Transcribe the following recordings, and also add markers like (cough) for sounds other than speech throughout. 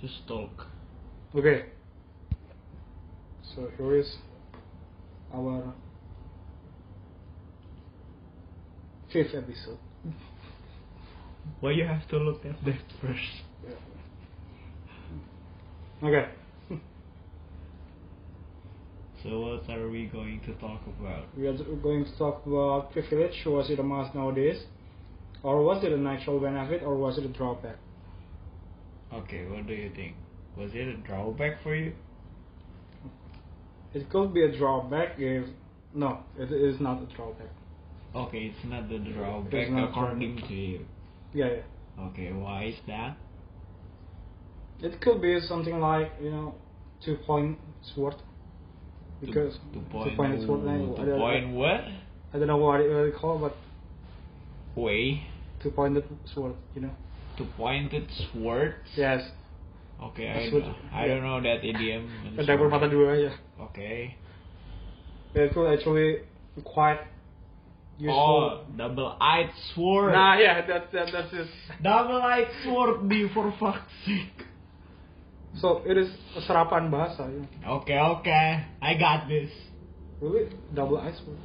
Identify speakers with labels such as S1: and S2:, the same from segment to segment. S1: Just talk.
S2: Okay. So here is our fifth episode.
S1: Why you have to look at that (laughs) first?
S2: Okay.
S1: So what are we going to talk about?
S2: We are going to talk about privilege. Was it a must nowadays? Or was it a natural benefit or was it a drawback?
S1: Okay, what do you think? Was it a drawback for you?
S2: It could be a drawback if no, it is not a drawback.
S1: Okay, it's not the drawback
S2: It's not
S1: according
S2: drawback.
S1: to you.
S2: Yeah, yeah.
S1: Okay, why is that?
S2: It could be something like, you know, two point sword.
S1: To-
S2: Because
S1: to point,
S2: two-pointed sword I,
S1: to
S2: I don't,
S1: point what?
S2: I don't know what it really called but
S1: Way
S2: two pointed sword, you know.
S1: to pointed swords.
S2: Yes.
S1: Okay, I,
S2: That's
S1: don't-
S2: what-
S1: I don't know that idiom.
S2: (laughs)
S1: I'm sorry.
S2: Dapur mata dua aja.
S1: Okay.
S2: It could actually quite
S1: Oh,
S2: useful.
S1: double-eyed sword.
S2: Oh. nah, yeah, that's that, that's it.
S1: Double-eyed sword, D for fuck's sake.
S2: So it is a serapan bahasa, you know.
S1: Okay, okay, I got this.
S2: Really, double eyes. sword.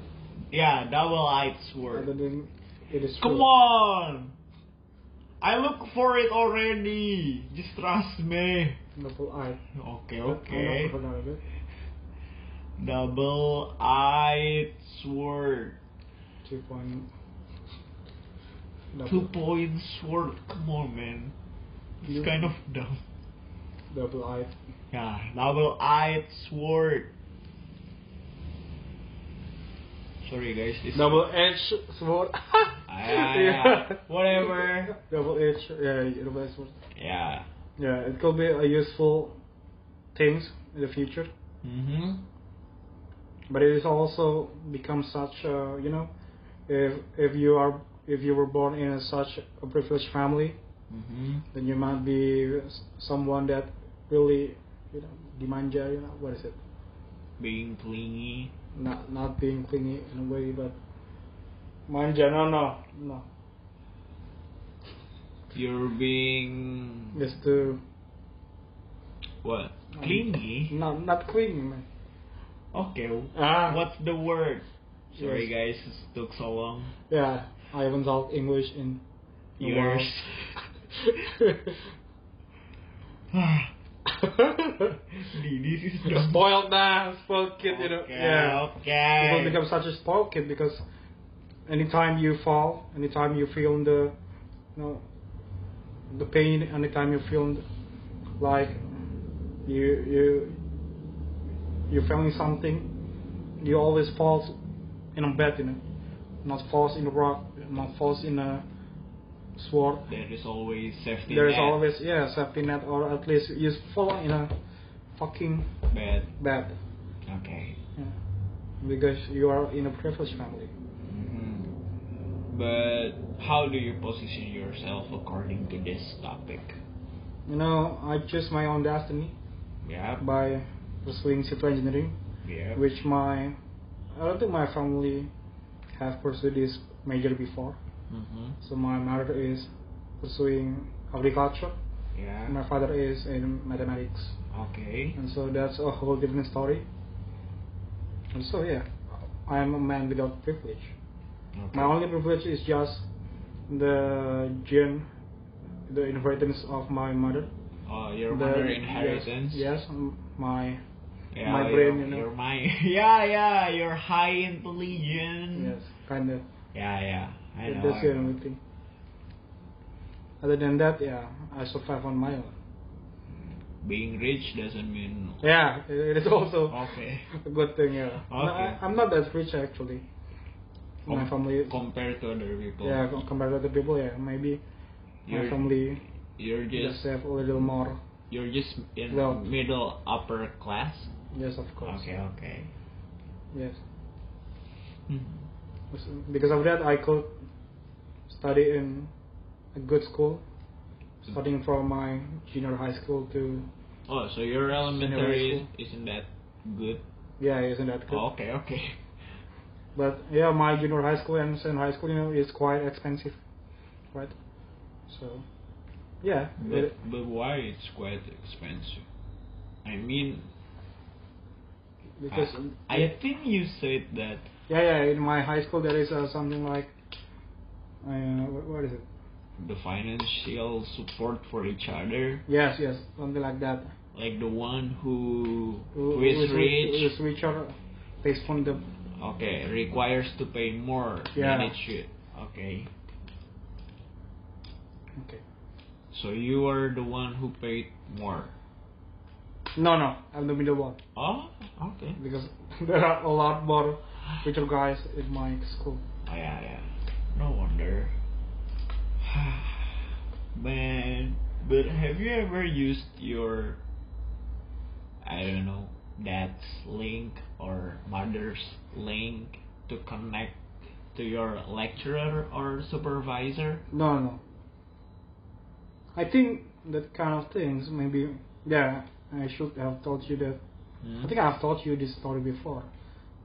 S1: Yeah, double-eyed sword.
S2: Other than it is.
S1: Come
S2: true.
S1: on! I look for it already. Just trust me.
S2: Double eye.
S1: Okay,
S2: I
S1: okay.
S2: don't know if I got it.
S1: Double-eyed sword.
S2: Two point. Double,
S1: Two-point sword. Come on, man. It's
S2: You-
S1: kind of dumb.
S2: double eye.
S1: Yeah, double-eyed sword. Sorry, guys. This
S2: Double edge (laughs) sword.
S1: Ah,
S2: (laughs)
S1: whatever.
S2: Double edge. Yeah, double edge sword.
S1: Yeah.
S2: Yeah, it could be a useful things in the future.
S1: Mhm.
S2: but it is also become such a you know if if you are if you were born in such a privileged family
S1: Mhm.
S2: then you might be s- someone that really you know dimanja you know what is it
S1: Being clingy.
S2: not not being clingy in a way but manja no no no
S1: You're being
S2: just to
S1: what? Clingy.
S2: no not clingy man
S1: Okay.
S2: ah
S1: What's the word? Sorry,
S2: Yes.
S1: guys, it took so long.
S2: yeah I haven't talked English in a while.
S1: Yours. (laughs)
S2: (laughs)
S1: this is dumb.
S2: spoiled man, spoiled kid,
S1: okay,
S2: you know. Yeah.
S1: Okay.
S2: You will become such a spoiled kid because anytime you fall, anytime you feel the, you know, the pain, anytime you feel like you you you're feeling something, you always fall in a bed, you know, not falls in a rock, not falls in a sword.
S1: There is always safety
S2: There is
S1: net,
S2: always yeah safety net or at least you fall in a fucking
S1: but
S2: bed.
S1: okay.
S2: Yeah. Because you are in a privileged family.
S1: hmm But how do you position yourself according to this topic?
S2: You know, I choose my own destiny
S1: Yeah.
S2: by pursuing civil engineering,
S1: Yeah.
S2: which my I don't think my family have pursued this major before.
S1: hmm
S2: So my mother is pursuing agriculture,
S1: Yeah.
S2: and my father is in mathematics,
S1: Okay.
S2: and so that's a whole different story. And so yeah, I am a man without privilege.
S1: okay.
S2: My only privilege is just the gene, the inheritance of my mother.
S1: Oh, your
S2: The-
S1: mother inheritance.
S2: Yes, yes, m- my
S1: Yeah,
S2: My
S1: your-
S2: brain, you know.
S1: Your mind. (laughs) Yeah, yeah. You're high intelligent.
S2: yes, kind of.
S1: Yeah, yeah. I know.
S2: That's the only thing. Other than that, yeah, I survive on my own.
S1: Being rich doesn't mean.
S2: Yeah, it it is (laughs) also
S1: Okay.
S2: a good thing. Yeah, No,
S1: Okay.
S2: I, am not that rich actually. my
S1: Com-
S2: family,
S1: Compared to other people.
S2: yeah, com- compared to other people, yeah, maybe
S1: You're,
S2: my family
S1: You're just.
S2: just have a little more.
S1: You're just in
S2: Well-
S1: middle upper class.
S2: Yes, of course.
S1: Okay. Okay.
S2: Yes.
S1: Hmm.
S2: because of that I could study in a good school, starting from my junior high school to
S1: Oh, so your elementary is,
S2: school.
S1: isn't that good?
S2: yeah, isn't that good?
S1: Oh, okay. Okay.
S2: But yeah, my junior high school and senior high school, you know, is quite expensive, right? So Yeah,
S1: But, but why it's quite expensive? I mean,
S2: because
S1: I, I think you said that
S2: yeah, yeah. In my high school, there is uh, something like, uh, what, what is it?
S1: the financial support for each other,
S2: Yes, yes, something like that.
S1: like the one who
S2: Who-
S1: who is
S2: who's ri-
S1: rich,
S2: who's richer, based on the
S1: okay, requires to pay more
S2: Yeah.
S1: than it should. Okay,
S2: okay.
S1: so you are the one who paid more.
S2: No, no, I'm the middle one
S1: Oh, okay.
S2: because (laughs) there are a lot more richer guys in my school.
S1: Oh, yeah, yeah. No wonder. (sighs) Man, but have you ever used your, I don't know, dad's link or mother's link to connect to your lecturer or supervisor?
S2: No, no. I think that kind of things maybe. Yeah, I should have told you that.
S1: Hmm?
S2: I think I've told you this story before.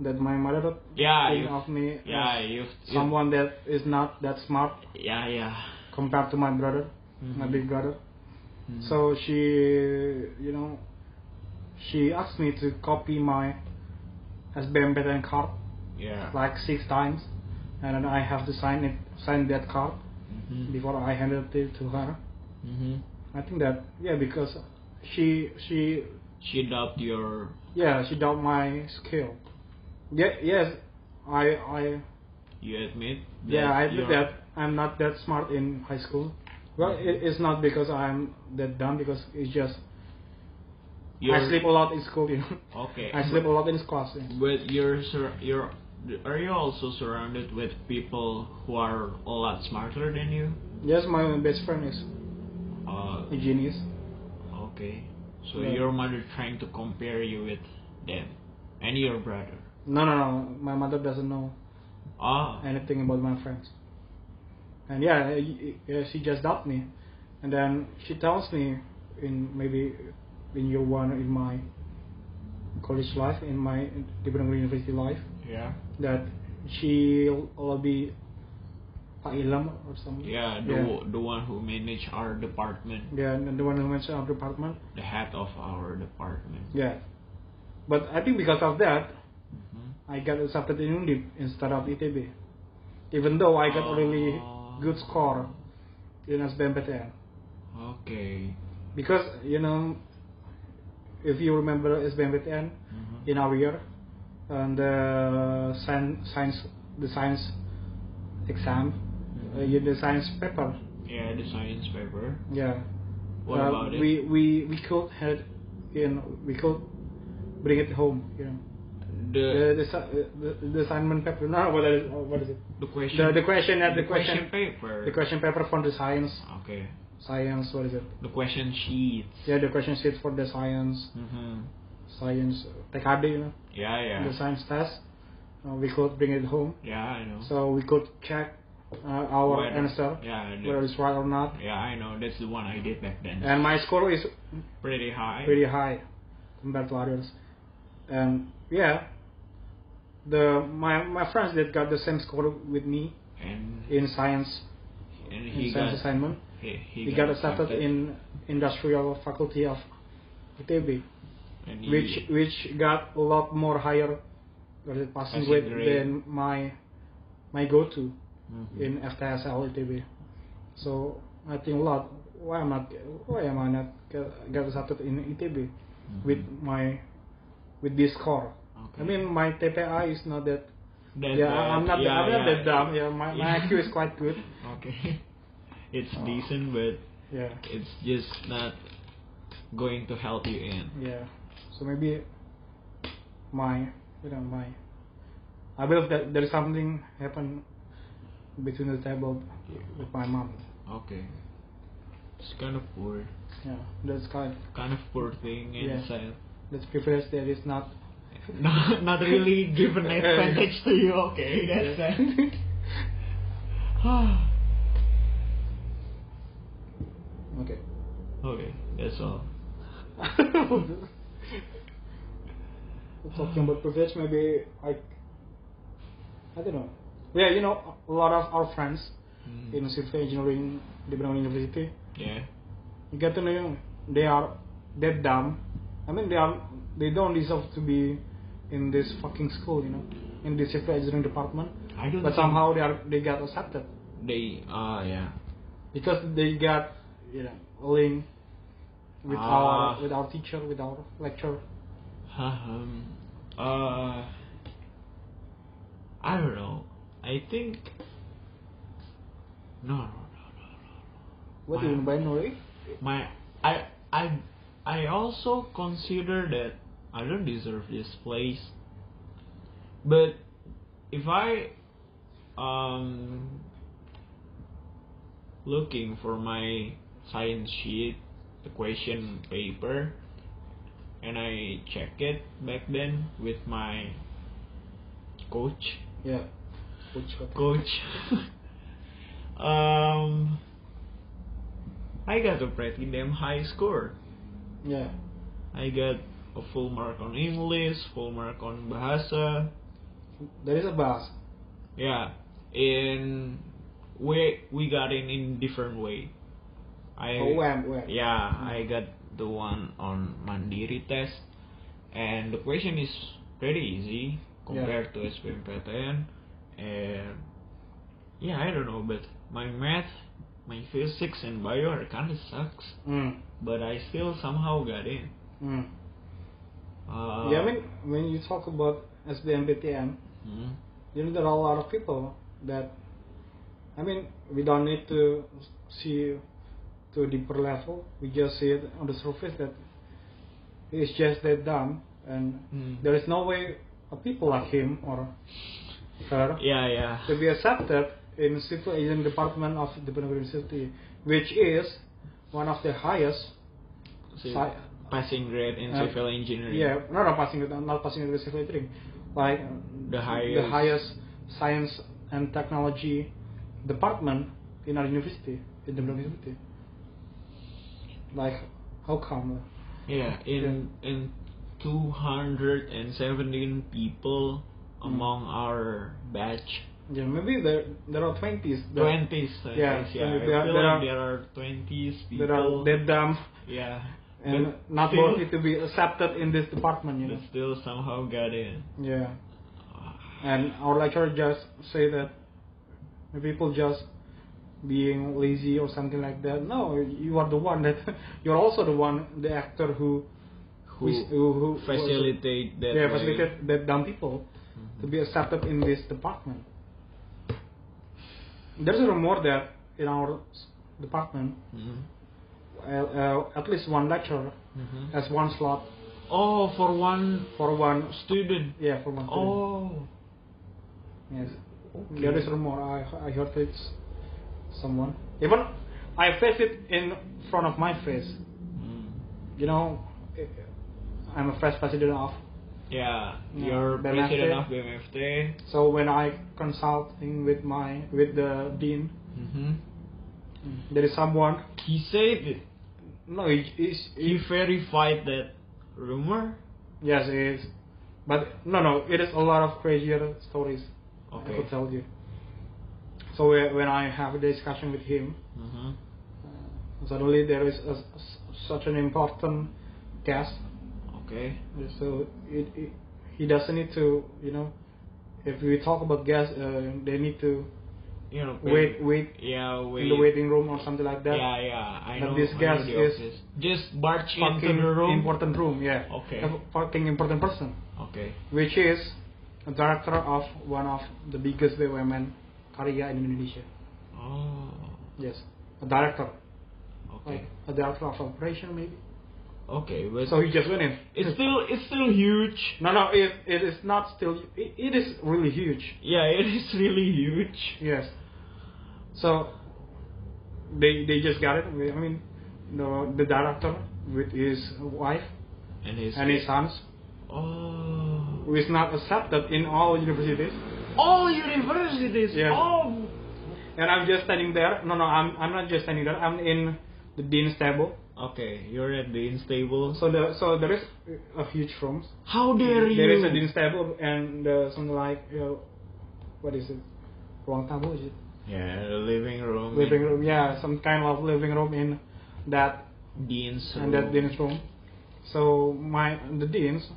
S2: That my mother
S1: yeah,
S2: think
S1: you,
S2: of me
S1: yeah,
S2: as
S1: you,
S2: someone that is not that smart
S1: yeah, yeah.
S2: compared to my brother, my
S1: Mhm.
S2: big brother.
S1: Mhm.
S2: So she, you know, she asked me to copy my SBM pattern card
S1: yeah,
S2: like six times, and then I have to sign it, sign that card
S1: mm-hmm.
S2: before I handed it to her.
S1: hmm
S2: I think that yeah, because she she
S1: she dubbed your
S2: yeah she doubt my skill. Yeah, yes, I I
S1: you admit
S2: Yeah, I admit
S1: your-
S2: that I'm not that smart in high school. Well, it, it's not because I'm that dumb. Because it's just
S1: your-
S2: I sleep a lot in school. You know,
S1: okay
S2: I sleep a lot in class. yeah.
S1: But you're sur- you're are you also surrounded with people who are a lot smarter than you?
S2: Yes, my best friend is
S1: Uh,
S2: a genius.
S1: okay. So
S2: Yeah.
S1: your mother trying to compare you with them and your brother.
S2: No, no, no. My mother doesn't know
S1: Ah,
S2: anything about my friends. And yeah, y- y- yeah, she just doubts me, and then she tells me in maybe in year one in my college life, in my different university life,
S1: yeah,
S2: that she will be Pak Ilham or something.
S1: yeah. The
S2: yeah.
S1: wo- the one who manage our department,
S2: Yeah, and the one who mentioned our department.
S1: the head of our department.
S2: Yeah. But I think because of that,
S1: Mhm.
S2: I got accepted in UNDIP instead of ITB. Even though I got a really
S1: Oh.
S2: good score in SBMPTN.
S1: Okay.
S2: Because, you know, if you remember SBMPTN
S1: Mhm.
S2: in our year, and the science, science, the science exam, uh,
S1: Mhm.
S2: the science paper,
S1: Yeah, the science paper.
S2: Yeah.
S1: What
S2: Uh,
S1: about it?
S2: we, We we could had, you know, we could bring it home. You know,
S1: the
S2: the, the, assi- the, the assignment paper. (laughs) No, what is what is it?
S1: the question.
S2: The, the question uh,
S1: the,
S2: the, question,
S1: question paper.
S2: the question paper for the science
S1: Okay.
S2: science. What is it?
S1: The question sheets.
S2: Yeah, the question sheet for the science
S1: Mm-hmm.
S2: science TKD. You know,
S1: Yeah, yeah.
S2: the science test. Uh, we could bring it home,
S1: Yeah, I know.
S2: so we could check uh, our
S1: Whether-
S2: answer
S1: Yeah, I know.
S2: whether it's right or not.
S1: yeah, I know. That's the one I did back then.
S2: And my score is
S1: pretty high.
S2: pretty high compared to others. And yeah, the my my friends that got the same score with me
S1: and
S2: in science
S1: and
S2: in
S1: he
S2: science
S1: got
S2: assignment,
S1: he, he,
S2: he got accepted in industrial faculty of ITB,
S1: and he,
S2: which which got a lot more higher what is it, passing
S1: Passing
S2: grade
S1: grade.
S2: than my my go-to
S1: Mhm.
S2: in FTSL ITB. So I think a lot. Why am I why am I not get, got accepted in ITB?
S1: Mhm.
S2: with my with this score.
S1: Okay.
S2: I mean, my TPI is not that.
S1: That
S2: yeah,
S1: bad.
S2: I'm not.
S1: Yeah,
S2: I'm not
S1: yeah.
S2: that dumb. Yeah, my, my IQ is quite good.
S1: (laughs) Okay, it's
S2: Oh.
S1: decent, but
S2: Yeah,
S1: it's just not going to help you in.
S2: yeah. So maybe my you know my. I believe that there is something happened between the table with my mom.
S1: Okay, it's kind of poor,
S2: Yeah, that's kind.
S1: kind of poor thing
S2: Yeah.
S1: inside.
S2: That's privilege that is not.
S1: No, (laughs) not really given an advantage to you. Okay, that's
S2: (laughs)
S1: that.
S2: Okay.
S1: okay, that's all.
S2: (laughs) Talking about privilege, maybe I, I don't know. Mm-hmm. Yeah, you know, a lot of our friends in civil engineering, Department University,
S1: Mm. Yeah.
S2: You get to know they are that dumb. I mean, they are they don't deserve to be in this fucking school, you know, in this safety engineering department.
S1: I don't
S2: But somehow they are they got accepted
S1: they ah yeah.
S2: because they got you know a link with
S1: Ah.
S2: our with our teacher with our lecturer.
S1: um, uh, I don't know. I think no, no, no, no,
S2: What do you mean by no way?
S1: no. My I I I also consider that I don't deserve this place. But if I um looking for my science sheet equation paper and I check it back then with my coach
S2: Yeah. Which what-
S1: coach (laughs) um I got a pretty damn high score
S2: Yeah.
S1: I got a full mark on English full mark on Bahasa
S2: There is a bus.
S1: Yeah, in we we got in in different way. I
S2: Oh, when, when?
S1: yeah I got the one on Mandiri test, and the question is pretty easy compared to SPMPTN, and yeah I don't know but my math, my physics and bio are kind of sucks,
S2: Mm.
S1: but I still somehow got in.
S2: Mm.
S1: Uh,
S2: yeah, I mean, when you talk about SBMPTM,
S1: hmm,
S2: you know, there are a lot of people that, I mean, we don't need to see to a deeper level. We just see it on the surface that it's just that dumb, and
S1: Hmm.
S2: there is no way a people like him or her
S1: yeah yeah
S2: to be accepted in civil agent department of the university, which is one of the highest
S1: So,
S2: sci-
S1: passing grade in
S2: Uh,
S1: civil engineering.
S2: Yeah, not a passing grade, not passing grade civil engineering. Like
S1: The
S2: the
S1: highest-
S2: highest science and technology department in our university, in the university. Like, how come?
S1: Yeah, in in 217 people
S2: Mm.
S1: among our batch.
S2: Yeah, maybe there there are twenties.
S1: 20s, I
S2: yeah,
S1: guess, yeah.
S2: there-
S1: I
S2: there
S1: feel
S2: are-
S1: like there are 20s people.
S2: There are that dumb
S1: yeah.
S2: and
S1: But
S2: not
S1: still-
S2: worthy to be accepted in this department. You know.
S1: But still somehow got in.
S2: Yeah. And our lecturer just say that the people just being lazy or something like that. No, you are the one that (laughs) you're also the one, the actor who
S1: Who,
S2: is- who- who was-
S1: facilitate that
S2: yeah
S1: way.
S2: facilitate that dumb people to be accepted in this department. There's a rumor that in our s- department,
S1: Mhm.
S2: uh, uh, at least one lecturer
S1: Mhm.
S2: has one slot
S1: Oh, for one
S2: for one.
S1: student.
S2: Yeah, for one. student.
S1: Oh.
S2: Yes.
S1: Okay.
S2: There is rumor. I I heard it's someone. Even I face it in front of my face.
S1: Mm.
S2: You know, eh, I'm a first president of.
S1: Yeah,
S2: Yeah,
S1: you're
S2: BMFT.
S1: president of BMFT.
S2: So when I consulting with my with the dean,
S1: hmm
S2: there is someone.
S1: He said it.
S2: No, it is
S1: He verified that rumor.
S2: yes it is, but no no it is a lot of crazier stories. I
S1: Okay.
S2: could tell you. So when when I have a discussion with him, uh,
S1: Mm-hmm.
S2: suddenly there is a, s- such an important task
S1: Okay.
S2: so it, it he doesn't need to you know if we talk about gas uh, they need to
S1: You know.
S2: wait wait
S1: Yeah. Wait.
S2: in the waiting room or something like that
S1: yeah. Yeah. I
S2: that
S1: know.
S2: this
S1: I
S2: gas
S1: know the
S2: is
S1: office. just barge into
S2: fucking
S1: the room.
S2: important room yeah
S1: Okay.
S2: a fucking important person
S1: Okay.
S2: which is a director of one of the biggest women karya in Indonesia
S1: Oh.
S2: yes a director
S1: Okay.
S2: like a director of operation maybe
S1: Okay. But
S2: so he just went in (laughs)
S1: it's still it's still huge.
S2: no no it, it is not still it, it is really huge
S1: Yeah. It is really huge.
S2: Yes. So they they just got it. I mean, the the director with his wife
S1: And it's.
S2: and his sons,
S1: Oh.
S2: who is not accepted in all universities.
S1: All universities.
S2: Yeah.
S1: Oh.
S2: And I'm just standing there. No, no, I'm I'm not just standing there. I'm in the dean's table.
S1: Okay. You're at the instable.
S2: So the so there is a huge room.
S1: How dare you?
S2: There is a dean's table and uh, something like you know, what is it? Ruang tamu is it?
S1: Yeah, the living room.
S2: Living room. Yeah, some kind of living room in that
S1: Dean's
S2: and that
S1: room.
S2: dean's room. So my the deans,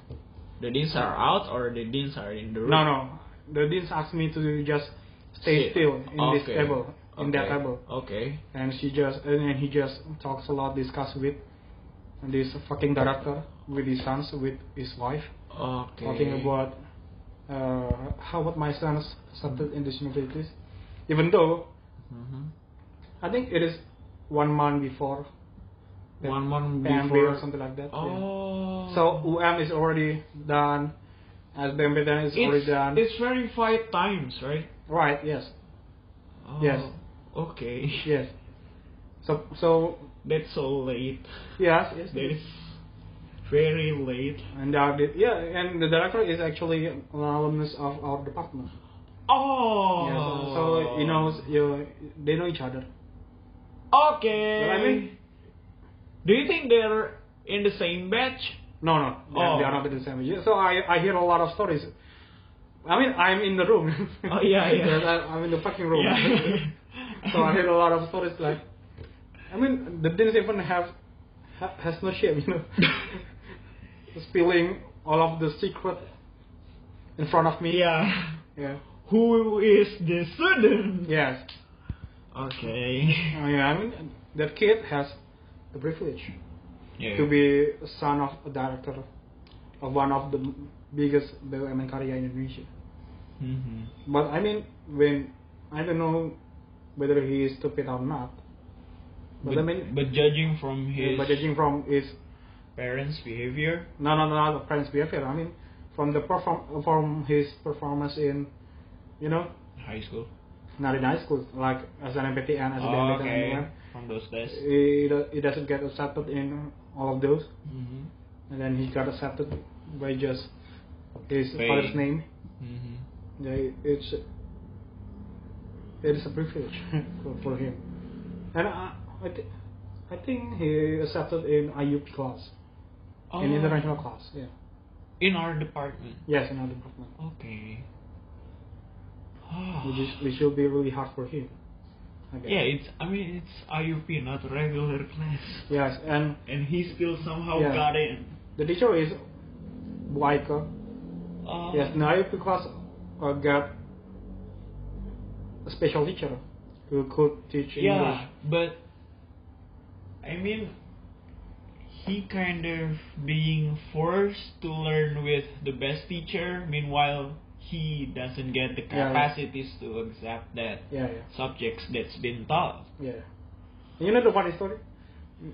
S1: The deans are out or the deans are in the room?
S2: no no, the deans asked me to just
S1: Sit.
S2: stay still in this
S1: Okay.
S2: table, in
S1: Okay.
S2: that table,
S1: Okay.
S2: and she just and, and he just talks a lot, discuss with this fucking director, with his sons, with his wife,
S1: Okay.
S2: talking about uh, how what my sons suffered in these universities, even though
S1: Mhm.
S2: I think it is one month before
S1: One month
S2: PMB
S1: before.
S2: or something like that. yeah.
S1: Oh.
S2: So UM is already done, as BMB done is already
S1: it's,
S2: done.
S1: it's verified times, right?
S2: right? Yes.
S1: Oh,
S2: Yes.
S1: Okay.
S2: Yes. So so
S1: (laughs) That's so late.
S2: yes yes.
S1: That is very late.
S2: And uh, the- yeah, and the director is actually an alumnus of our department.
S1: Oh.
S2: Yeah, so, so you know you, they know each other.
S1: Okay.
S2: What I mean?
S1: Do you think they're in the same batch?
S2: No no, they-
S1: Oh.
S2: they are not in the same. Yeah, So I I hear a lot of stories. I mean I'm in the room.
S1: Oh, yeah, yeah.
S2: (laughs) I, am in the fucking room.
S1: Yeah. (laughs)
S2: (laughs) so I heard a lot of stories like, I mean, the didn't even have ha, has no
S1: (laughs)
S2: shame, (laughs) you know, spilling all of the secret in front of me.
S1: yeah.
S2: Yeah.
S1: Who is the student?
S2: Yes.
S1: Okay.
S2: (laughs) I mean, I mean, that kid has the privilege
S1: Yeah.
S2: to be a son of a director of one of the biggest BUMN karya in Indonesia.
S1: Mhm.
S2: But I mean, when I don't know whether he is stupid or not. But,
S1: But,
S2: I mean,
S1: but judging from his
S2: but judging from his
S1: parents' behavior,
S2: No, no, no, not the parents' behavior. I mean, from the perform from his performance in, you know,
S1: high school.
S2: not in high school, like as an MPTN, as
S1: Oh,
S2: an
S1: okay.
S2: MPTN,
S1: From those days.
S2: he, do- he doesn't get accepted in all of those,
S1: Mhm.
S2: and then he got accepted by just his
S1: By-
S2: father's name.
S1: Mhm.
S2: Yeah, it- it's it is a privilege (laughs) for, for him, and I I, th- I think he accepted in IUP class, in
S1: Oh.
S2: international class. Yeah,
S1: In our department.
S2: yes, in our department.
S1: Okay.
S2: which is which will be really hard for him. I guess.
S1: (sighs) yeah, it's. I mean, it's IUP, not regular class.
S2: Yes, and
S1: And he still somehow
S2: Yeah.
S1: got in.
S2: the teacher is Bu Aika.
S1: Uh,
S2: Yes, now because uh, got a special teacher who could teach
S1: Yeah,
S2: English.
S1: but I mean, he kind of being forced to learn with the best teacher. Meanwhile, he doesn't get the
S2: Yeah.
S1: capacities to accept that
S2: Yeah, yeah,
S1: subjects that's been taught.
S2: yeah. You know the funny story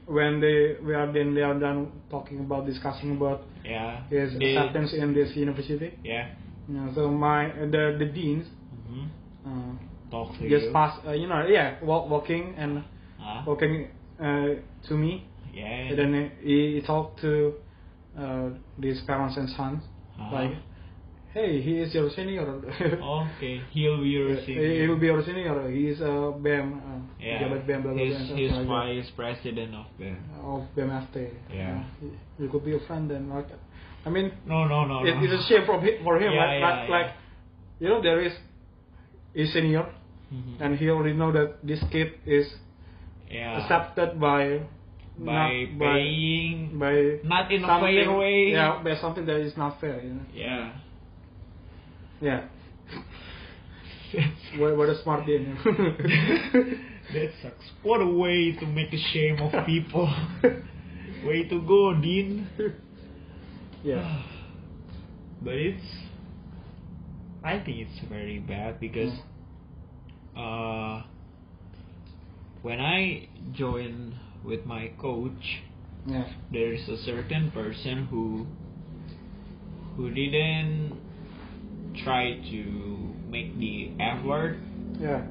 S2: when they we are then they are done talking about discussing about
S1: Yeah.
S2: his
S1: They-
S2: acceptance in this university.
S1: Yeah.
S2: Yeah, so my the the deans
S1: hmm
S2: uh,
S1: Talk to
S2: just
S1: you. Uh-huh.
S2: pass uh, you know yeah walk, walking and
S1: Huh?
S2: walking uh, to me
S1: Yeah.
S2: Oh. And then he, he talked to uh, these parents and sons,
S1: Uh-huh.
S2: like, hey, he is your (laughs) senior.
S1: Okay, he'll be your
S2: Uh, He will be your senior. He is a BAM, uh,
S1: Yeah.
S2: Jabat BAM, blah, blah,
S1: He's,
S2: blah,
S1: he's
S2: something like
S1: vice president of the.
S2: that, of BAM after.
S1: Yeah.
S2: you could be a friend then. Like, I mean,
S1: No, no, no.
S2: it,
S1: no.
S2: it's a shame for, hi- for him.
S1: Yeah,
S2: like,
S1: yeah,
S2: like,
S1: yeah.
S2: like, you know, there is a senior,
S1: Mhm.
S2: and he already know that this kid is
S1: yeah.
S2: accepted by
S1: by
S2: not by-
S1: paying
S2: by
S1: not in a
S2: something,
S1: fair way.
S2: Yeah, by something that is not fair. You know?
S1: Yeah.
S2: Yeah. What, what a smart
S1: (laughs)
S2: deal.
S1: (laughs) that sucks. What a way to make a shame of (laughs) people. way to go, Dean.
S2: (laughs) yeah.
S1: (sighs) but it's. I think it's very bad because. Uh, when I join with my coach,
S2: Yeah.
S1: there is a certain person who who didn't try to make the effort
S2: Yeah.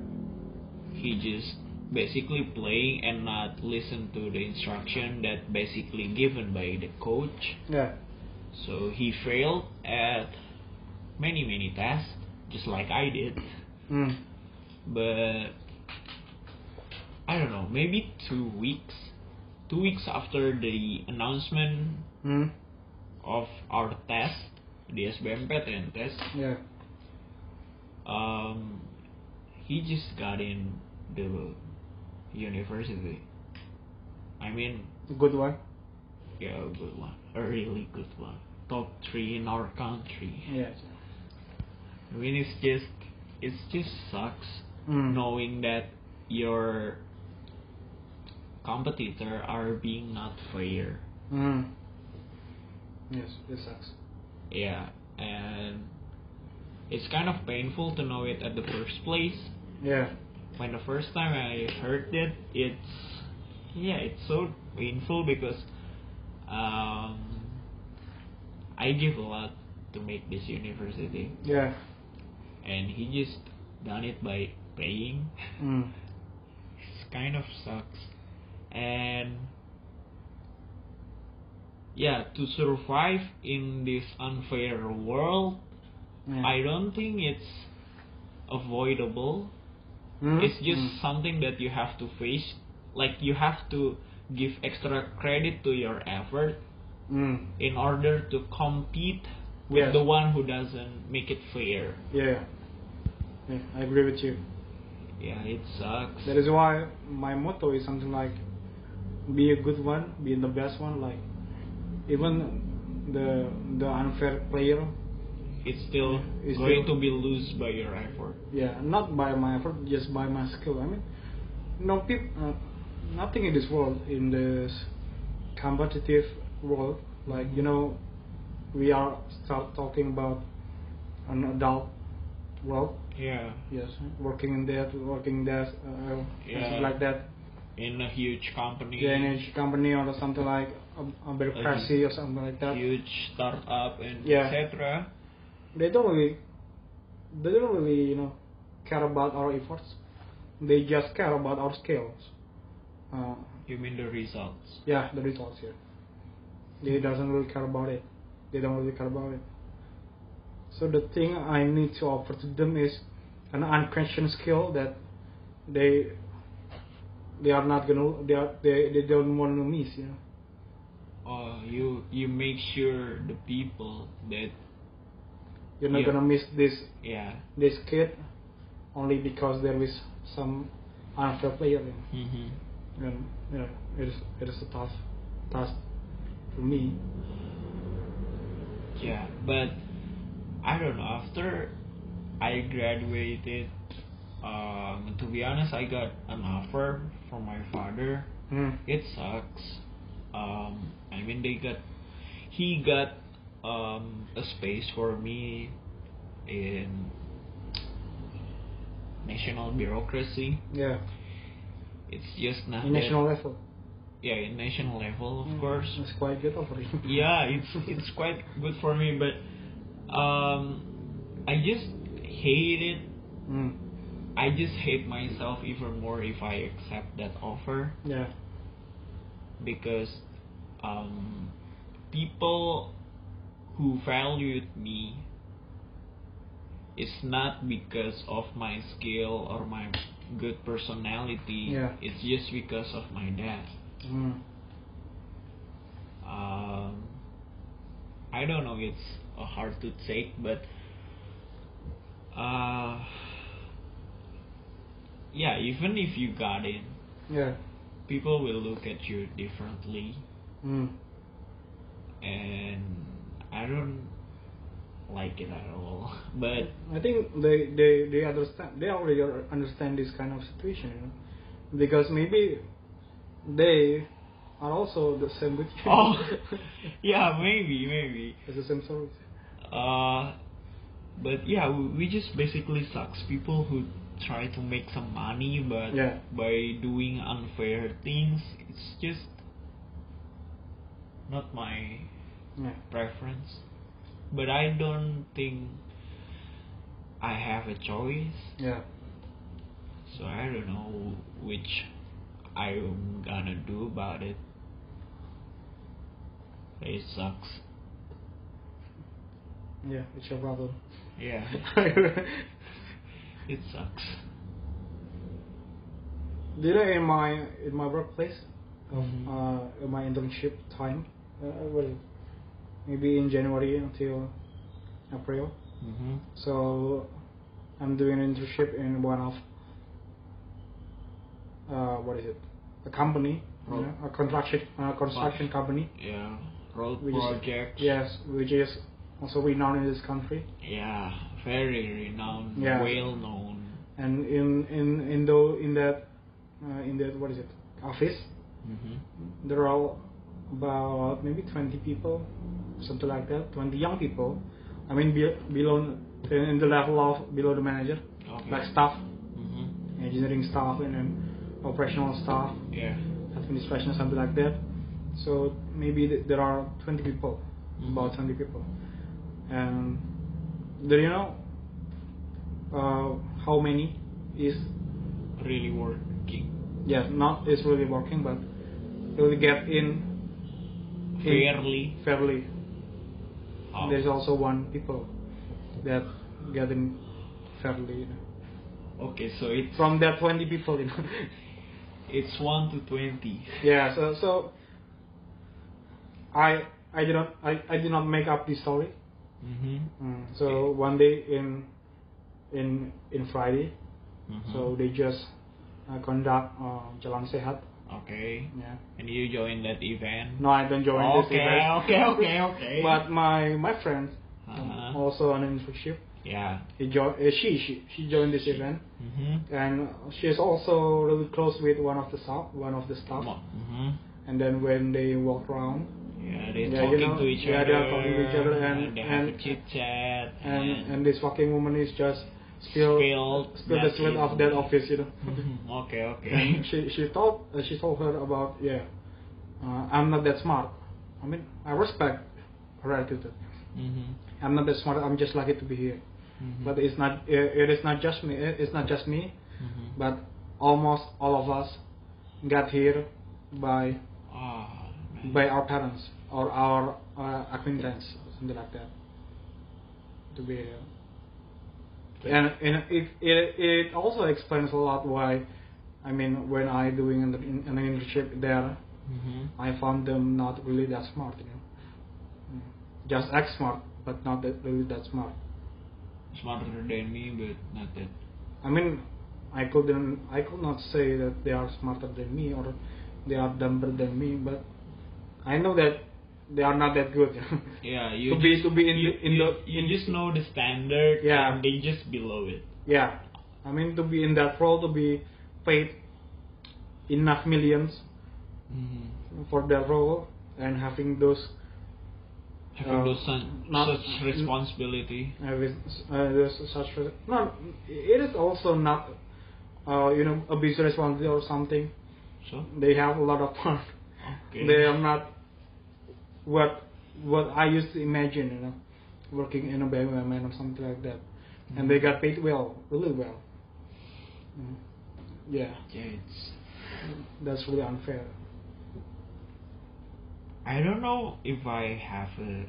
S1: he just basically playing and not listen to the instruction that basically given by the coach
S2: Yeah.
S1: so he failed at many many tests just like i did
S2: Mm.
S1: but i don't know maybe two weeks two weeks after the announcement
S2: Mm.
S1: of our test, the SBMPTN test,
S2: Yeah.
S1: um, he just got in the university. I mean,
S2: Good one.
S1: Yeah, a good one. A really good one. Top three in our country.
S2: Yes.
S1: I mean, it's just, it just sucks
S2: Mm.
S1: knowing that your competitor are being not fair.
S2: Mm. Yes, it sucks.
S1: Yeah, and it's kind of painful to know it at the first place.
S2: Yeah.
S1: When the first time I heard it, it's yeah, it's so painful because um, I give a lot to make this university,
S2: Yeah.
S1: and he just done it by paying.
S2: Mm.
S1: (laughs) It's kind of sucks, and yeah, to survive in this unfair world,
S2: Yeah.
S1: I don't think it's avoidable.
S2: Mm.
S1: It's just
S2: Mm.
S1: something that you have to face. Like you have to give extra credit to your effort
S2: Mm.
S1: in order to compete with
S2: Yes.
S1: the one who doesn't make it fair.
S2: Yeah. Yeah, I agree with you.
S1: Yeah, it sucks.
S2: That is why my motto is something like, be a good one, be the best one. Like, even the the unfair player,
S1: it's still
S2: It's
S1: going
S2: still-
S1: to be loose by your effort.
S2: yeah, not by my effort, just by my skill. I mean, no people, uh, nothing in this world, in this competitive world. Like you know, we are start talking about an adult world.
S1: Yeah.
S2: Yes, working in that, working that, uh,
S1: Yeah.
S2: something like that.
S1: In a huge company,
S2: the energy company or something like a, a bureaucracy or something like that.
S1: huge startup, and
S2: Yeah.
S1: etc.
S2: They don't really, they don't really, you know, care about our efforts. They just care about our skills. Uh,
S1: You mean the results?
S2: yeah, the results here. They doesn't really care about it. They don't really care about it. So the thing I need to offer to them is an unquestioned skill that they they are not gonna they are, they they don't want to miss. You know.
S1: Uh, you you make sure the people that
S2: You're not
S1: Yeah.
S2: gonna miss this
S1: yeah
S2: this kid only because there is some unfair player in.
S1: hmm
S2: and you know, it is it is a tough task for me.
S1: yeah but I don't know after I graduated um to be honest I got an offer from my father
S2: Mm.
S1: it sucks um I mean they got he got um a space for me in national bureaucracy
S2: Yeah,
S1: it's just not
S2: in
S1: that-
S2: national level.
S1: yeah in national level of
S2: Mm,
S1: course
S2: it's quite good offer.
S1: (laughs) yeah, it's it's quite good for me, but um, I just hate it.
S2: Mm.
S1: I just hate myself even more if I accept that offer
S2: Yeah,
S1: because um, people who valued me is not because of my skill or my good personality.
S2: Yeah.
S1: It's just because of my dad.
S2: mm.
S1: um, I don't know. It's uh, hard to take, but uh, yeah, even if you got in,
S2: yeah,
S1: people will look at you differently,
S2: mm.
S1: and I don't like it at all. (laughs)
S2: (laughs)
S1: But
S2: I think they, they, they understand they already ar- understand this kind of situation, you know, because maybe they are also the same with you.
S1: oh, (laughs) yeah, maybe, maybe.
S2: (laughs) it's the same story.
S1: Uh, but yeah, we, we just basically sucks people who try to make some money, but
S2: Yeah.
S1: by doing unfair things, it's just not my
S2: Yeah.
S1: preference. But I don't think I have a choice,
S2: Yeah.
S1: so I don't know which I'm gonna do about it. It sucks.
S2: Yeah, it's your problem.
S1: Yeah, (laughs) it sucks.
S2: Later in my in my workplace, of,
S1: Mhm.
S2: uh, in my internship time, uh, well, maybe in January until April.
S1: Mm-hmm.
S2: So I'm doing an internship in one of uh, what is it? A company you know, a construction uh, construction
S1: Wow.
S2: company.
S1: yeah, road
S2: Which is-
S1: projects.
S2: Yes, which is also renowned in this country.
S1: Yeah, very renowned,
S2: Yeah.
S1: well known.
S2: And in in in the in that uh, in that what is it office?
S1: hmm
S2: There are all about maybe 20 people, something like that. 20 young people. I mean be, below in the level of below the manager,
S1: Okay.
S2: like staff,
S1: hmm
S2: engineering staff, and then operational staff,
S1: Yeah.
S2: administration, something like that. So maybe th- there are 20 people,
S1: Mm-hmm.
S2: about 20 people, and do you know uh, how many is
S1: Really working
S2: yeah not is really working, but will get in
S1: fairly.
S2: fairly.
S1: Oh.
S2: There's also one people that get in fairly. You know.
S1: Okay, so it's
S2: From that 20
S1: (laughs)
S2: people, you know.
S1: it's one to twenty.
S2: yeah. So so I I did not I, I did not make up this story.
S1: hmm
S2: Mm, so one day in in in Friday,
S1: Mm-hmm.
S2: so they just uh, conduct uh, Jalan Sehat.
S1: okay,
S2: Yeah.
S1: and you join that event.
S2: No, I don't join this
S1: Okay,
S2: event.
S1: (laughs) okay, okay, okay.
S2: But my my friend, um,
S1: Uh-huh.
S2: also an internship,
S1: Yeah.
S2: he jo- uh, she, she she joined this event,
S1: Mm-hmm.
S2: and she's also really close with one of the staff, one of the staff.
S1: Mm-hmm.
S2: And then when they walk around,
S1: Yeah, they're
S2: Yeah, you
S1: talking
S2: know,
S1: to each other.
S2: yeah, they are talking to each other and-
S1: they have a
S2: and-
S1: chit chat
S2: and and this fucking woman is just still
S1: Spilled
S2: still the
S1: that
S2: sweat of
S1: little-
S2: that office, you know.
S1: Mhm, okay, okay.
S2: (laughs) and she she told uh, she told her about yeah, uh, I'm not that smart. I mean I respect her attitude.
S1: mm-hmm.
S2: I'm not that smart. I'm just lucky to be here. But it's not it, it is not just me. It, it's not just me,
S1: mm-hmm.
S2: but almost all of us got here by
S1: Ah, man.
S2: by our parents or our uh, acquaintance something like that to be here. And, and it, it it also explains a lot why, I mean, when I doing an, an internship there,
S1: Mhm.
S2: I found them not really that smart, you know, Mm. just act smart, but not that really that smart.
S1: smarter than me, but not that.
S2: I mean, I couldn't I could not say that they are smarter than me or they are dumber than me, but I know that they are not that good. (laughs)
S1: Yeah, you
S2: to
S1: just,
S2: be to be in
S1: you,
S2: the, in
S1: you,
S2: the
S1: you just know the standard.
S2: Yeah.
S1: and they just below it.
S2: Yeah, I mean to be in that role to be paid enough millions
S1: Mm-hmm.
S2: for that role and having those
S1: Having
S2: Uh,
S1: those sun,
S2: not-
S1: such responsibility.
S2: with uh, there's such re- no it is also not uh, you know a business responsibility or something
S1: So
S2: they have a lot of (laughs) fun
S1: okay.
S2: they are not what what I used to imagine you know working in a bank or something like that and they got paid well really well Mm. yeah
S1: Yeah, it's.
S2: that's really unfair
S1: I don't know if I have a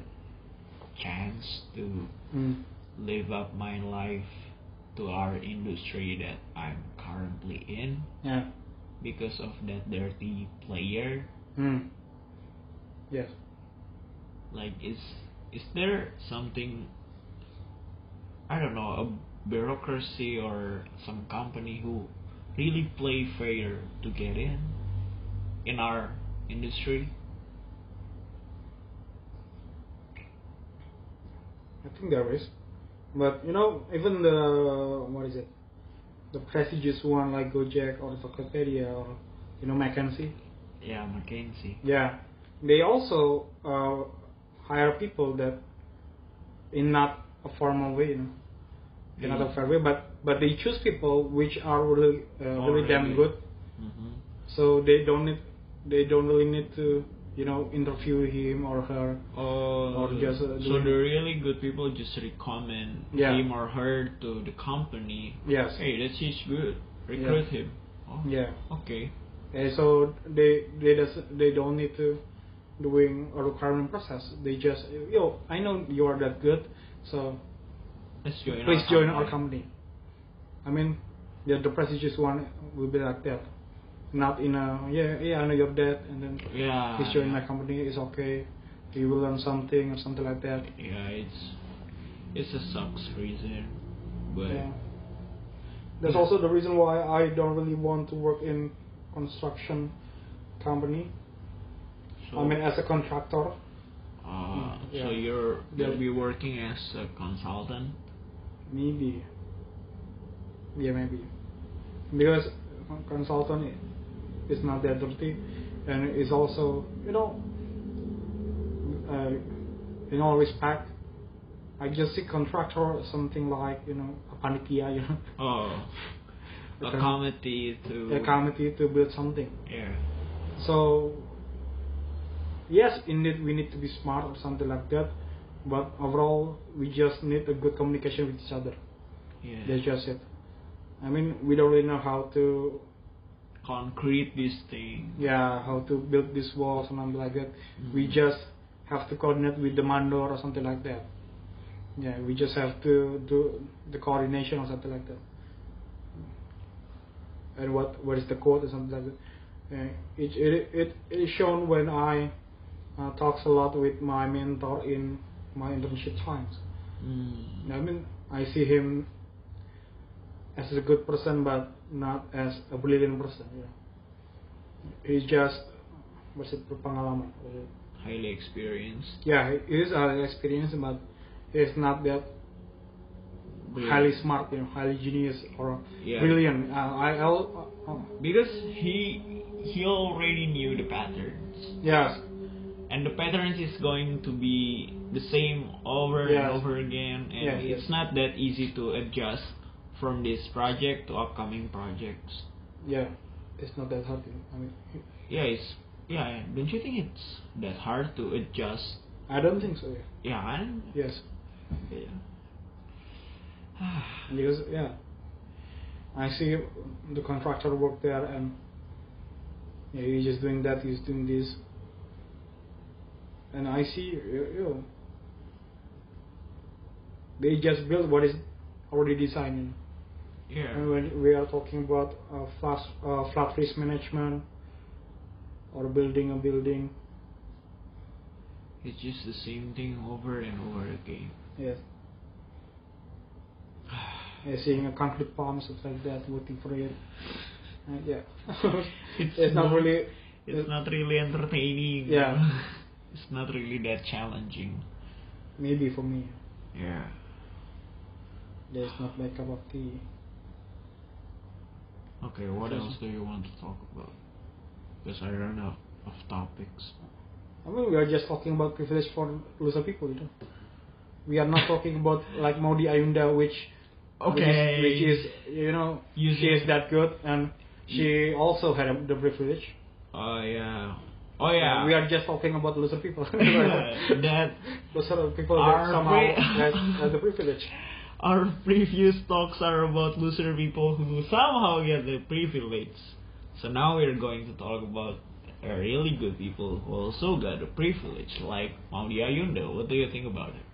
S1: chance to
S2: mm.
S1: live up my life to our industry that I'm currently in
S2: yeah
S1: because of that dirty player.
S2: Mm. Yes.
S1: Like, is is there something? I don't know a bureaucracy or some company who really play fair to get in in our industry.
S2: I think there is. But you know, even the what is it? The prestigious one like Gojek or Tokopedia or you know McKinsey.
S1: Yeah, Mackenzie.
S2: Yeah, they also uh, hire people that in not a formal way, you know, in
S1: Mm-hmm.
S2: not a fair way. But but they choose people which are really uh,
S1: Oh,
S2: really damn
S1: really?
S2: good.
S1: Mm-hmm.
S2: So they don't need they don't really need to you know interview him or her.
S1: Oh,
S2: Or just,
S1: so
S2: uh, doing-
S1: the really good people just recommend
S2: Yeah.
S1: him or her to the company.
S2: Yes.
S1: Hey, that is good. Recruit him. Oh,
S2: Yeah.
S1: Okay.
S2: Uh, so they they does, they don't need to doing a requirement process. They just yo, I know you are that good, so
S1: Let's join.
S2: please
S1: our
S2: join our company. I mean, the, the prestigious one will be like that, not in a yeah yeah I know you're that, and then
S1: Yeah.
S2: please join
S1: Ah, yeah.
S2: my company. It's okay. You will learn something or something like that.
S1: Yeah, it's it's a sucks reason, but
S2: Yeah. That's also the reason why I don't really want to work in construction company.
S1: So,
S2: I mean, as a contractor.
S1: uh,
S2: yeah.
S1: so you're
S2: Yeah.
S1: you'll be working as a consultant.
S2: Maybe. Yeah, maybe. Because con- consultant i- is not that dirty, and is also you know. Uh, in all respect, I just see contractor as something like you know a panitia, you know,
S1: Oh, a
S2: Okay.
S1: committee to
S2: (laughs) a committee to build something.
S1: yeah.
S2: So yes, indeed we need to be smart or something like that, but overall we just need a good communication with each other.
S1: yeah.
S2: That's just it. I mean, we don't really know how to,
S1: concrete this thing.
S2: yeah, how to build this wall or something like that. We
S1: Mhm.
S2: just have to coordinate with the mandor or something like that. Yeah, we just have to do the coordination or something like that. And what what is the code or something like that? Uh, it, it it it is shown when I uh, talks a lot with my mentor in my internship times.
S1: Mm.
S2: I mean, I see him as a good person, but not as a brilliant person. You know. He's just what's it berpengalaman. what is it?
S1: Highly experienced.
S2: Yeah, he is highly experienced, but he's not that
S1: Brilliant.
S2: highly smart, you know, highly genius or
S1: Yeah.
S2: brilliant. Uh, I, I'll, uh, uh,
S1: Because he he already knew the patterns,
S2: yes,
S1: and the patterns is going to be the same over
S2: Yes.
S1: and over again, and
S2: Yes,
S1: it's
S2: yes.
S1: not that easy to adjust from this project to upcoming projects.
S2: yeah, it's not that hard. you know. I mean, he-
S1: Yeah, it's yeah. Don't you think it's that hard to adjust?
S2: I don't think so. Yeah.
S1: Yeah, I don't,
S2: Yes,
S1: yeah.
S2: because yeah, I see the contractor work there, and yeah, he's just doing that, he's doing this, and I see you you know, they just build what is already designed. you know. And
S1: yeah.
S2: when we are talking about uh, flat, uh, flat risk management or building a building,
S1: It's just the same thing over and over again.
S2: yes, uh, seeing a concrete palm, stuff like that, looking for it. Uh, yeah, (laughs) it's, not really.
S1: It's not really entertaining.
S2: Yeah.
S1: (laughs) it's not really that challenging.
S2: Maybe for me,
S1: Yeah.
S2: that's not my cup of tea.
S1: Okay, what
S2: Because-
S1: else do you want to talk about? Because I run out of topics.
S2: I mean, we are just talking about privilege for loser people, you know. We are not talking about like Maudi Ayunda, which which is, which is you know,
S1: Using-
S2: she is that good, and she also had a, the privilege.
S1: Oh yeah. Oh yeah. (laughs)
S2: We are just talking about loser people. (laughs)
S1: that
S2: Those are the people
S1: Our
S2: that somehow
S1: pri-
S2: has, has the privilege.
S1: our previous talks are about loser people who somehow get the privilege. So now we're going to talk about uh, really good people who also got the privilege, like Maudi Ayunda. What do you think about it?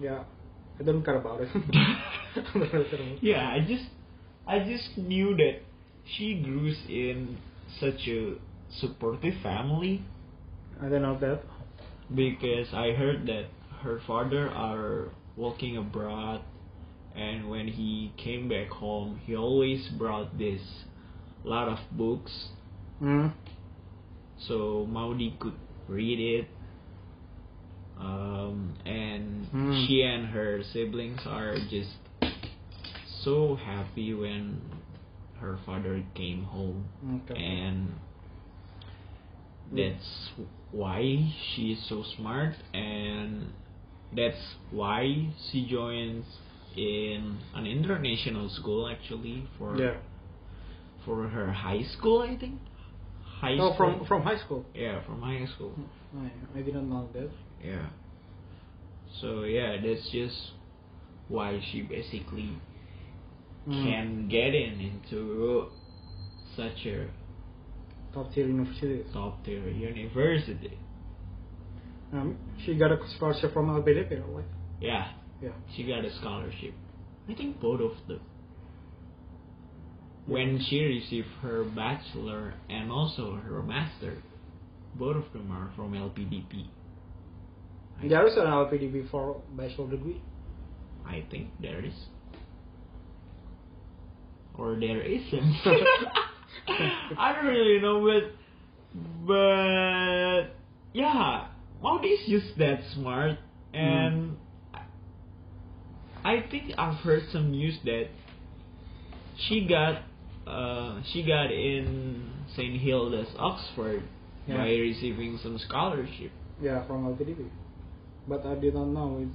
S2: Yeah, I don't care about it. (laughs)
S1: (laughs) yeah, I just I just knew that she grew in such a supportive family
S2: I don't know that.
S1: because I heard that her father are working abroad and when he came back home he always brought this lot of books
S2: Hmm.
S1: so Maudi could read it um, and
S2: Hmm.
S1: she and her siblings are just so happy when her father came home
S2: Okay.
S1: and
S2: Mm.
S1: that's why she is so smart and that's why she joins in an international school actually for
S2: yeah.
S1: for her high school I think high
S2: Oh,
S1: school
S2: from from high school.
S1: yeah from high school
S2: I, I didn't know that.
S1: yeah so yeah that's just why she basically
S2: Hmm.
S1: can get in into such a
S2: Top tier universities.
S1: top tier university
S2: Um, she got a scholarship from LPDP, right?
S1: Yeah,
S2: Yeah.
S1: she got a scholarship. I think both of them. When she received her bachelor and also her master, both of them are from LPDP. I,
S2: There is an LPDP for bachelor degree.
S1: I think there is. Or there isn't. I don't really know, but but yeah, Maudi is just that smart, and I think I've heard some news that she got uh, she got in Saint Hilda's, Oxford,
S2: Yeah.
S1: by receiving some scholarship.
S2: Yeah, from LTDB. But I did not know it.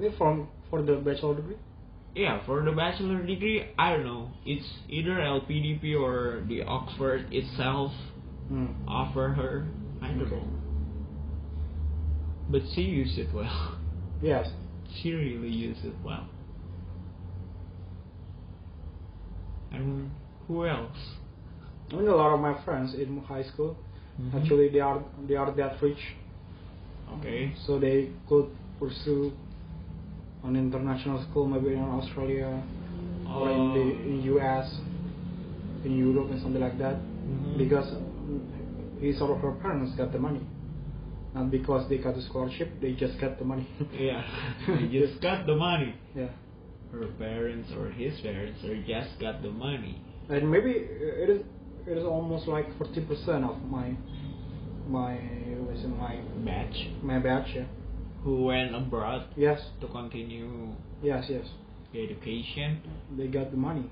S2: Is it from for the bachelor degree?
S1: Yeah, for the bachelor degree, I don't know. It's either LPDP or the Oxford itself
S2: Hmm.
S1: offer her. I don't
S2: Okay.
S1: know. But she used it well. (laughs)
S2: Yes.
S1: she really used it well. And who else?
S2: I mean, a lot of my friends in high school actually they are they are that rich,
S1: Okay.
S2: so they could pursue an international school maybe in Australia or
S1: Um,
S2: in the in US, in Europe and something like that.
S1: Mhm.
S2: because his or her parents got the money. Not because they got the scholarship, they just got the money.
S1: Yeah,
S2: (laughs)
S1: (laughs) they just got the money.
S2: yeah.
S1: Her parents or his parents or just got the money.
S2: And maybe it is it is almost like forty percent of my my was it my
S1: Batch
S2: my batch, yeah.
S1: who went abroad
S2: Yes,
S1: to continue
S2: yes, yes.
S1: the education.
S2: They got the money.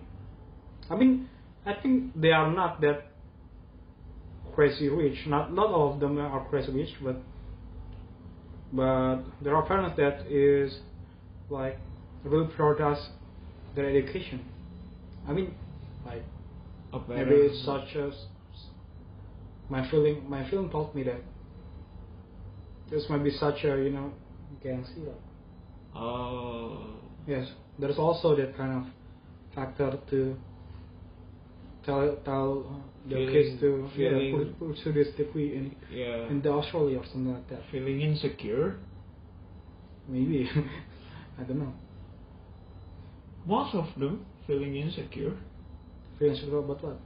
S2: I mean I think they are not that crazy rich. Not not all of them are crazy rich but but there are parents that is like really prioritize their education. I mean, like
S1: A parent-
S2: maybe it's such as my feeling. My feeling told me that this might be such a you know gang zero.
S1: Oh,
S2: Yes, there's also that kind of factor to tell tell the kids to
S1: Feeling-
S2: yeah,
S1: feeling-
S2: pu- pursue this degree in
S1: yeah.
S2: in the Australia or something like that.
S1: Feeling insecure.
S2: Maybe (laughs) I don't know.
S1: Most of them feeling insecure
S2: Feeling sure about what?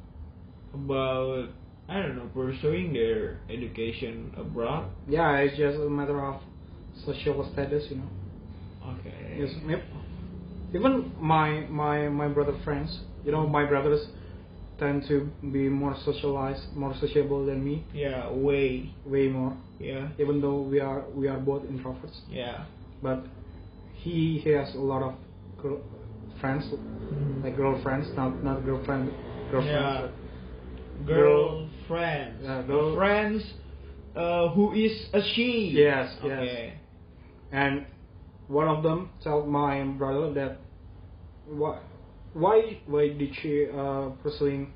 S1: about I don't know pursuing their education abroad.
S2: Yeah, it's just a matter of social status, you know.
S1: Okay.
S2: Yes, yep. Even my my my brother friends, you know, my brothers tend to be more socialized, more sociable than me,
S1: Yeah. Way.
S2: way more.
S1: Yeah.
S2: Even though we are we are both introverts,
S1: Yeah.
S2: but he he has a lot of girl, friends, like girlfriends, not not girlfriend, girlfriends. Girl-
S1: Girlfriends.
S2: Yeah, girl-
S1: Friends. Uh, who is a she?
S2: Yes, yes.
S1: Okay.
S2: And one of them told my brother that why why why did she uh, pursuing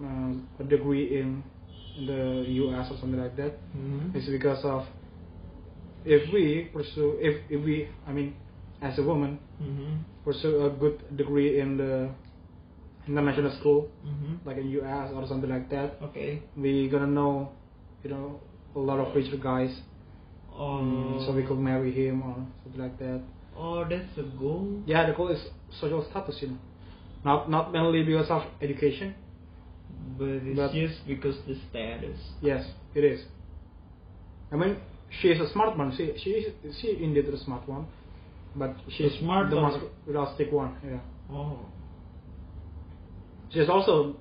S2: um, a degree in the U.S. or something like that?
S1: Mhm.
S2: It's because of if we pursue if if we I mean as a woman
S1: Mhm.
S2: pursue a good degree in the international school
S1: Mhm.
S2: like in U.S. or something like that,
S1: Okay.
S2: we gonna know you know a lot of richer guys,
S1: Um,
S2: Mm, so we could marry him or something like that.
S1: Oh, that's the goal.
S2: Yeah, the goal is social status, you know. Not not mainly because of education.
S1: But it's
S2: But-
S1: just because the status.
S2: Yes, it is. I mean, she is a smart one. She she is, she indeed is a smart one, but she's
S1: smart
S2: the
S1: one.
S2: most realistic one. Yeah,
S1: Oh.
S2: she's also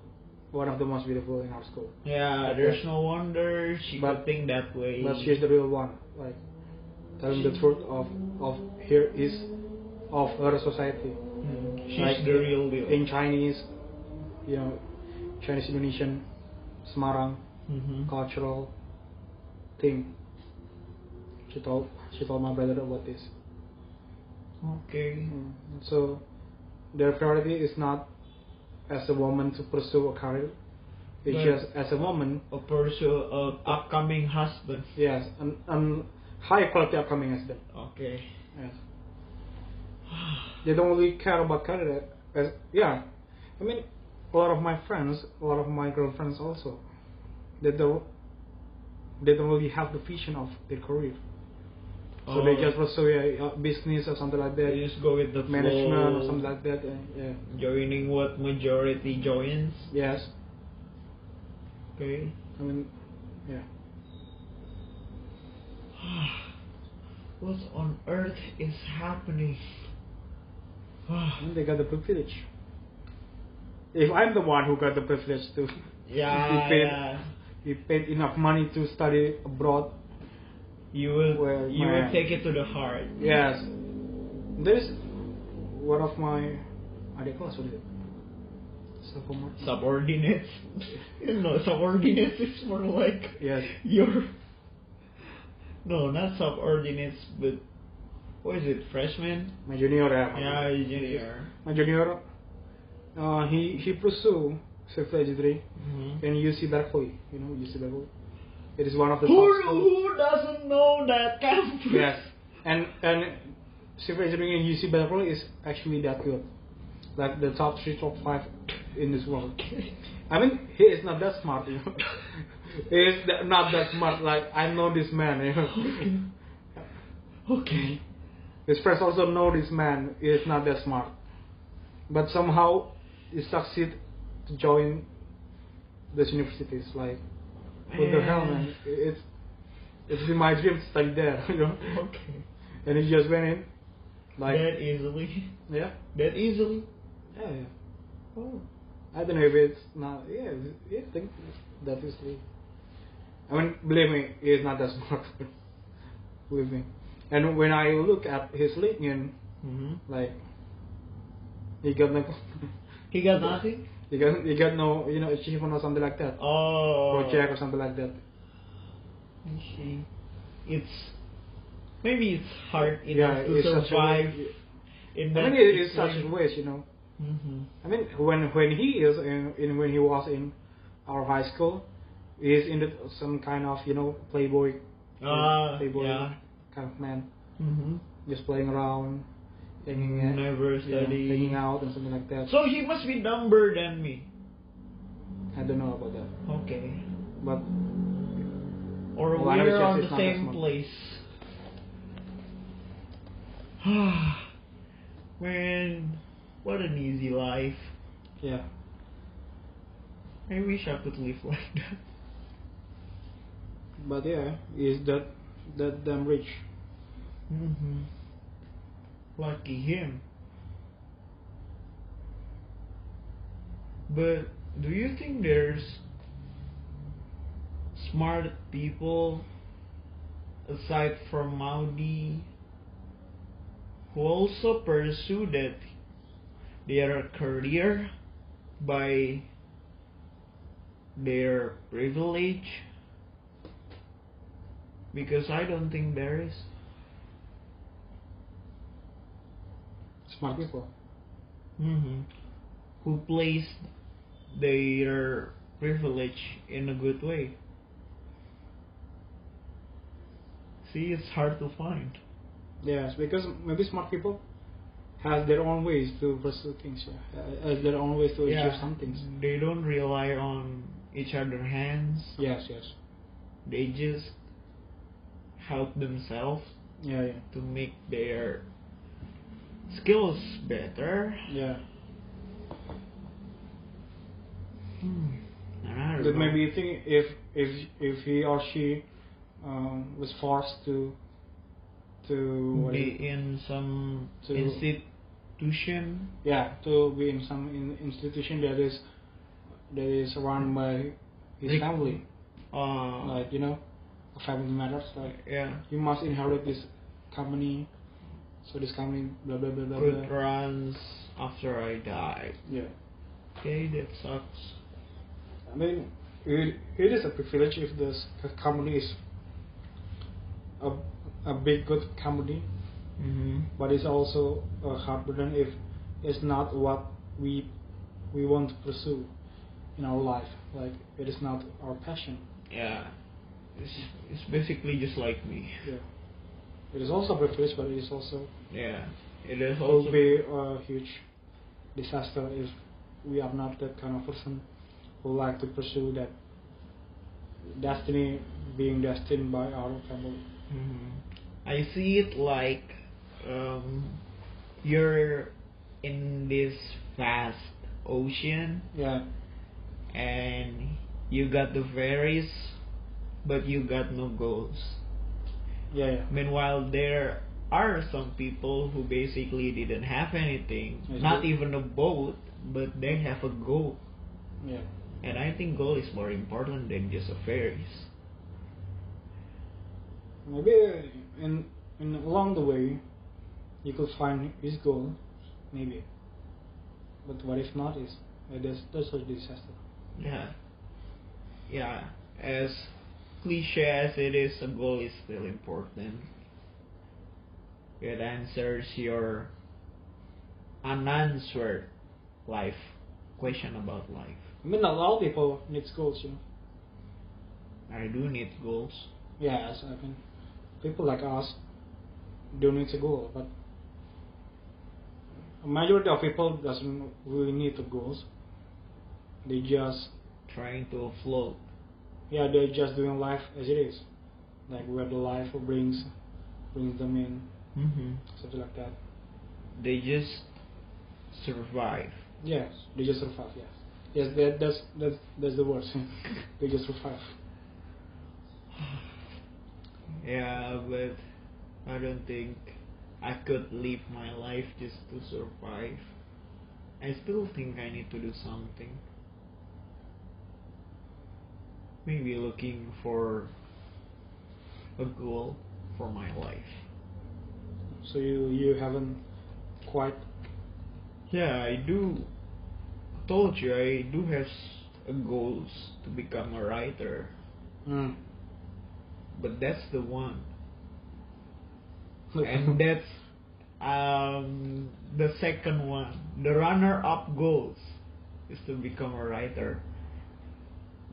S2: one of the most beautiful in our school.
S1: Yeah, there's no wonder she
S2: But-
S1: could think that way.
S2: But she's the real one, like telling the truth of of here is of her society.
S1: Mm, she's
S2: Like
S1: the real deal.
S2: In Chinese, you know, Chinese Indonesian, Semarang.
S1: Mhm.
S2: cultural thing. She told she told my brother about this.
S1: Okay.
S2: Mm. So their priority is not as a woman to pursue a career. It's
S1: Right.
S2: just as a woman,
S1: A person, a upcoming husband.
S2: yes, and an high quality upcoming as them.
S1: Okay.
S2: Yes. (sighs) They don't really care about career. As, yeah, I mean, a lot of my friends, a lot of my girlfriends also, they don't, they don't really have the vision of their career. So they
S1: Oh,
S2: just uh, pursue a, a business or something like
S1: they
S2: that,
S1: just go with the
S2: management or
S1: flow,
S2: something like that. uh, yeah.
S1: Joining what majority joins.
S2: Yes.
S1: Okay. (sighs)
S2: I mean, yeah.
S1: What on earth is happening? (sighs)
S2: I mean, they got the privilege. If I'm the one who got the privilege to, (laughs)
S1: Yeah,
S2: he paid,
S1: yeah.
S2: he paid enough money to study abroad.
S1: You will
S2: Well,
S1: you
S2: my-
S1: will take it to the heart.
S2: Yes, this one of my adik kelas was it? Siapa ma-
S1: Subordinates. (laughs) no, subordinates is more like
S2: Yes.
S1: your No, not subordinates but what is it, freshman?
S2: My junior ya.
S1: Yeah, junior.
S2: My junior, uh, he he pursue civil engineering
S1: Mhm.
S2: in UC Berkeley. You know UC Berkeley. It is one of the
S1: Who,
S2: top schools.
S1: who doesn't know that campus?
S2: Yes, and and civil engineering in UC Berkeley is actually that good, like the top three, top five in this world. I mean, he is not that smart, you know. (laughs) he is tha- not that smart. Like I know this man, you
S1: (laughs) Okay.
S2: know.
S1: Okay.
S2: His friends also know this man. He is not that smart, but somehow he succeed to join these universities. Like what the hell, man? It's it's been my dream to study there, (laughs) you
S1: (laughs)
S2: know.
S1: Okay.
S2: And he just went in, like
S1: that easily.
S2: yeah,
S1: That easily.
S2: yeah, yeah.
S1: Oh.
S2: I don't know if it's not. Yeah, yeah, I think that is the. I mean, believe me, he is not that (laughs) smart. believe me. And when I look at his LinkedIn,
S1: hmm
S2: like, he (laughs) got no,
S1: He got nothing.
S2: he got he got no, you know, achievement or something like that,
S1: Oh.
S2: project or something like that.
S1: I see. It's maybe it's hard
S2: yeah,
S1: enough to
S2: it's such a
S1: survive
S2: waste.
S1: in
S2: I
S1: that.
S2: mean, it is such a waste, you know.
S1: Mm-hmm.
S2: I mean, when when he is in, in when he was in our high school, he is in the, some kind of you know playboy,
S1: Ah,
S2: playboy
S1: yeah.
S2: kind of man,
S1: Mm-hmm.
S2: just playing around, hanging out,
S1: Never
S2: yeah,
S1: study.
S2: hanging out and something like that.
S1: So he must be dumber than me.
S2: I don't know about that,
S1: Okay.
S2: but
S1: Or
S2: Well, I know
S1: we're
S2: it's just-
S1: on the
S2: it's not that
S1: same
S2: small.
S1: place. (sighs) Man, what an easy life.
S2: yeah,
S1: I wish I could live (laughs) like that.
S2: but yeah, is that that damn rich?
S1: Mm-hmm. Lucky him. But do you think there's smart people aside from Maudi who also pursue that their career by their privilege? Because I don't think there is.
S2: Smart people.
S1: hmm who plays their privilege in a good way. See, it's hard to find.
S2: Yes, because maybe smart people has their own ways to pursue things, yeah. uh, has their own ways to achieve some things.
S1: They don't rely on each other's hands.
S2: Yes, yes,
S1: They just help themselves
S2: yeah, yeah.
S1: to make their skills better.
S2: Yeah,
S1: Hmm. I don't
S2: that
S1: know.
S2: maybe you think if if if he or she um, was forced to to what is it?
S1: be in some
S2: To-
S1: institution.
S2: yeah to be in some in institution that is that is run by his
S1: Like-
S2: family,
S1: Uh,
S2: like you know, family matters. Like
S1: yeah.
S2: you must inherit this company, so this company blah blah blah blah.
S1: Good
S2: blah.
S1: runs after I die.
S2: Yeah,
S1: Okay, that sucks.
S2: I mean it it is a privilege if this company is a a big good company.
S1: Mm-hmm.
S2: but it's also a hard burden if it's not what we we want to pursue in our life. Like it is not our passion.
S1: Yeah. It's, it's basically just like me.
S2: Yeah. It is also a privilege, but it is also
S1: Yeah. It is
S2: will
S1: also.
S2: be a huge disaster if we are not that kind of person who like to pursue that destiny being destined by our family.
S1: Mhm. I see it like um, you're in this vast ocean
S2: Yeah.
S1: and you got the ferries, but you got no goals.
S2: Yeah. Yeah.
S1: Meanwhile, there are some people who basically didn't have anything,
S2: Yes,
S1: not
S2: they-
S1: even a boat, but they have a goal.
S2: Yeah.
S1: And I think goal is more important than just a fairies.
S2: Maybe uh, in, in along the way, you could find his goal, maybe. But what if not? Is uh, that's that's a disaster.
S1: Yeah. Yeah. As cliche as it is, a goal is still important. It answers your unanswered life question about life.
S2: I mean, not all people needs goals, you know.
S1: I do need goals.
S2: Yes, I mean, people like us do need a goal, but a majority of people doesn't really need the goals. They just
S1: Trying to float.
S2: yeah, they're just doing life as it is, like where the life brings brings them in,
S1: Mm-hmm.
S2: something like that.
S1: They just survive.
S2: Yes, they just survive. Yes, yes, that, that's that's that's the worst. they just survive.
S1: Yeah, but I don't think I could live my life just to survive. I still think I need to do something. Maybe looking for a goal for my life.
S2: So you you haven't quite
S1: Yeah, I do. I told you I do have s- a goals to become a writer,
S2: mm,
S1: but that's the one. and that's um, the second one. The runner-up goals is to become a writer.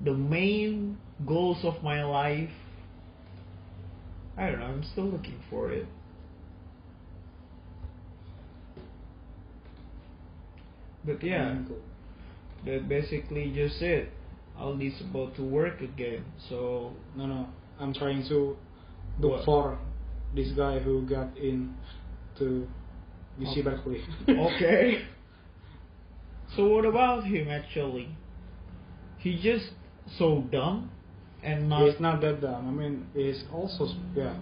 S1: The main goals of my life, I don't know. I'm still looking for it. But yeah, that basically just it. Aldi's about to work again, so
S2: No, no. I'm trying to look
S1: What?
S2: for this guy who got in to UC
S1: Okay.
S2: Berkeley.
S1: okay. So what about him actually? He just so dumb and not
S2: (laughs) he's not that dumb. I mean, he's also s- yeah,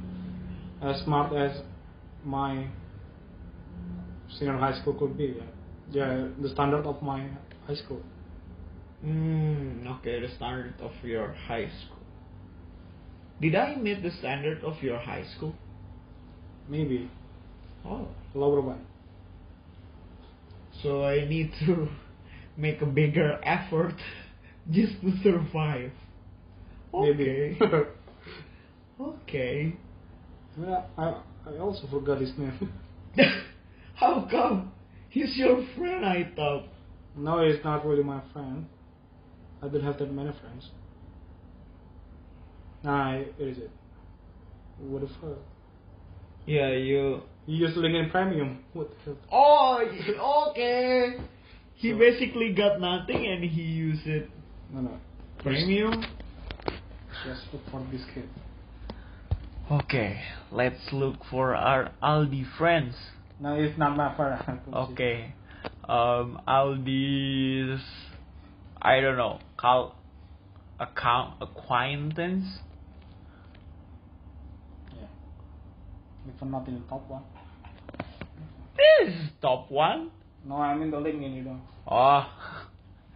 S2: as smart as my senior high school could be. Yeah, yeah the standard of my high school.
S1: Mm, okay, the standard of your high school. Did I meet the standard of your high school?
S2: Maybe
S1: Oh.
S2: lower one.
S1: So I need to (laughs) make a bigger effort (laughs) just to survive. Okay.
S2: Maybe. (laughs)
S1: okay.
S2: I, mean, I, I I also forgot his name.
S1: (laughs) How come? He's your friend, I thought.
S2: no, he's not really my friend. I don't have that many friends. Nah, it is it. What the fuck?
S1: Yeah, you
S2: You use LinkedIn Premium. What the hell?
S1: Oh, (laughs) y- okay. He
S2: So-
S1: basically got nothing and he used it
S2: No, no.
S1: premium.
S2: Just for this kid.
S1: Okay, let's look for our Aldi friends.
S2: No, it's not my friend. (laughs)
S1: Okay, um, Aldi's, I don't know, cal- account acquaintance.
S2: Yeah. If I'm not in the top one.
S1: This is top one.
S2: No, I mean the LinkedIn, you know.
S1: Oh,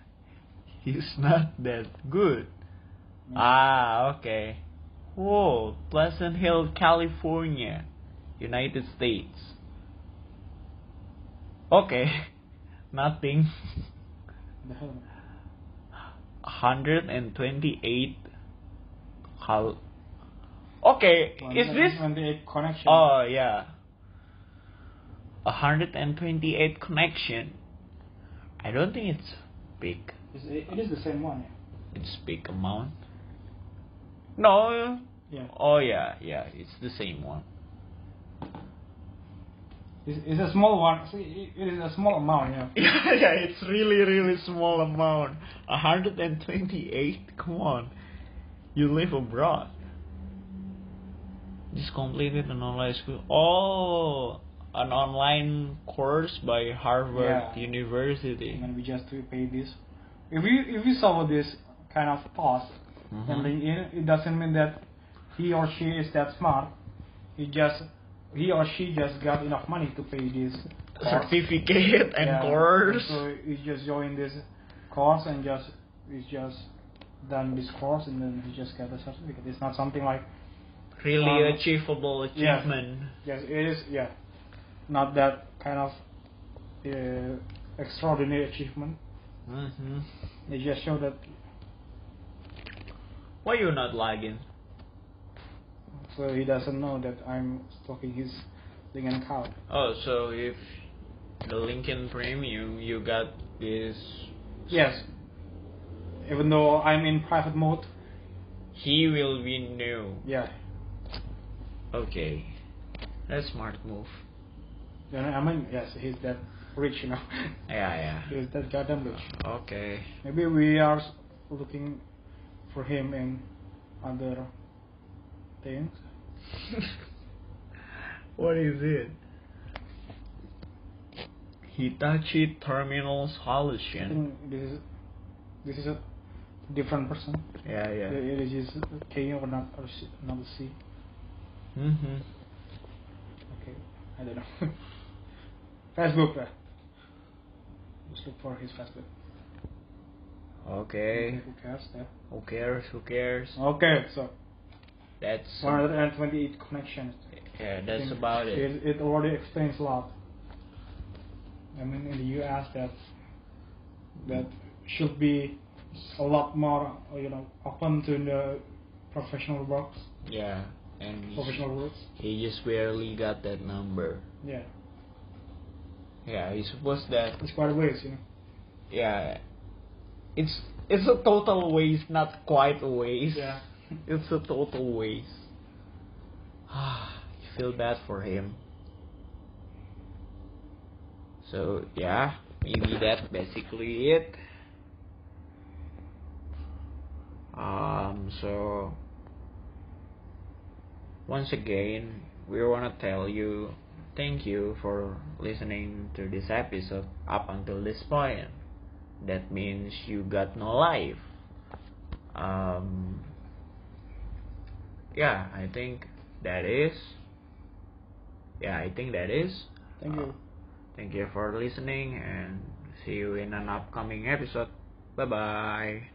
S1: (laughs) he's not that good. Ah, okay. Whoa, Pleasant Hill, California, United States. Okay, (laughs) nothing.
S2: The hell.
S1: 128. Cal- okay, is this.
S2: When the connection.
S1: Oh, yeah. 128 connection. I don't think it's big.
S2: It's, it is the same one,
S1: It's big amount. No,
S2: yeah. Yeah.
S1: Oh yeah, yeah, it's the same one.
S2: It's, it's a small one. See, it- it is a small amount, yeah.
S1: yeah, (laughs) yeah, it's really, really small amount. 128. Come on, you live abroad. Just completed an online school. Oh, an online course by Harvard
S2: Yeah.
S1: University.
S2: And we just to pay this. If you if you saw this kind of post
S1: Mhm.
S2: and LinkedIn, it doesn't mean that he or she is that smart. He just he or she just got enough money to pay this course.
S1: certificate and
S2: Yeah,
S1: course.
S2: So you just join this course and just it's just done this course and then you just get the certificate. It's not something like
S1: Really
S2: um,
S1: achievable
S2: yeah.
S1: achievement.
S2: yes, it is yeah, not that kind of uh, extraordinary achievement.
S1: hmm
S2: It just show that
S1: Why you not lagging?
S2: so he doesn't know that I'm stalking his thing and account.
S1: Oh, so if the Lincoln Premium, you got this.
S2: Yes, even though I'm in private mode.
S1: He will be new.
S2: Yeah,
S1: Okay, that's smart move.
S2: You know, I mean yes, he's that rich, you know. (laughs)
S1: Yeah, yeah.
S2: he's that goddamn rich.
S1: Okay.
S2: Maybe we are s- looking for him in other things.
S1: (laughs) what is it? Hitachi Terminal
S2: I
S1: Solution.
S2: think this is this is a different person.
S1: Yeah, yeah.
S2: It is just K or not or C, not a C.
S1: Mm-hmm.
S2: Okay, I don't know. (laughs) Facebook. Uh, just look for his Facebook.
S1: Okay.
S2: Who cares? Yeah.
S1: Who cares? Who cares?
S2: Okay, so
S1: That's.
S2: 128 connections.
S1: Yeah,
S2: I
S1: that's
S2: think
S1: about it.
S2: it. It already explains a lot. I mean, in the US, that's that should be a lot more, uh, you know, open to the professional works,
S1: Yeah. And he-
S2: professional works.
S1: he just barely got that number.
S2: Yeah,
S1: Yeah, I suppose that.
S2: it's quite a ways, you know.
S1: Yeah. It's it's a total waste, not quite a waste.
S2: Yeah.
S1: It's a total waste. (sighs) Ah, I feel bad for him. So yeah, maybe that's basically it. Um, so once again, we want to tell you thank you for listening to this episode up until this point. That means you got no life. Um, yeah, I think that is. Yeah, I think that is. uh,
S2: Thank you.
S1: Thank you for listening and see you in an upcoming episode. Bye bye.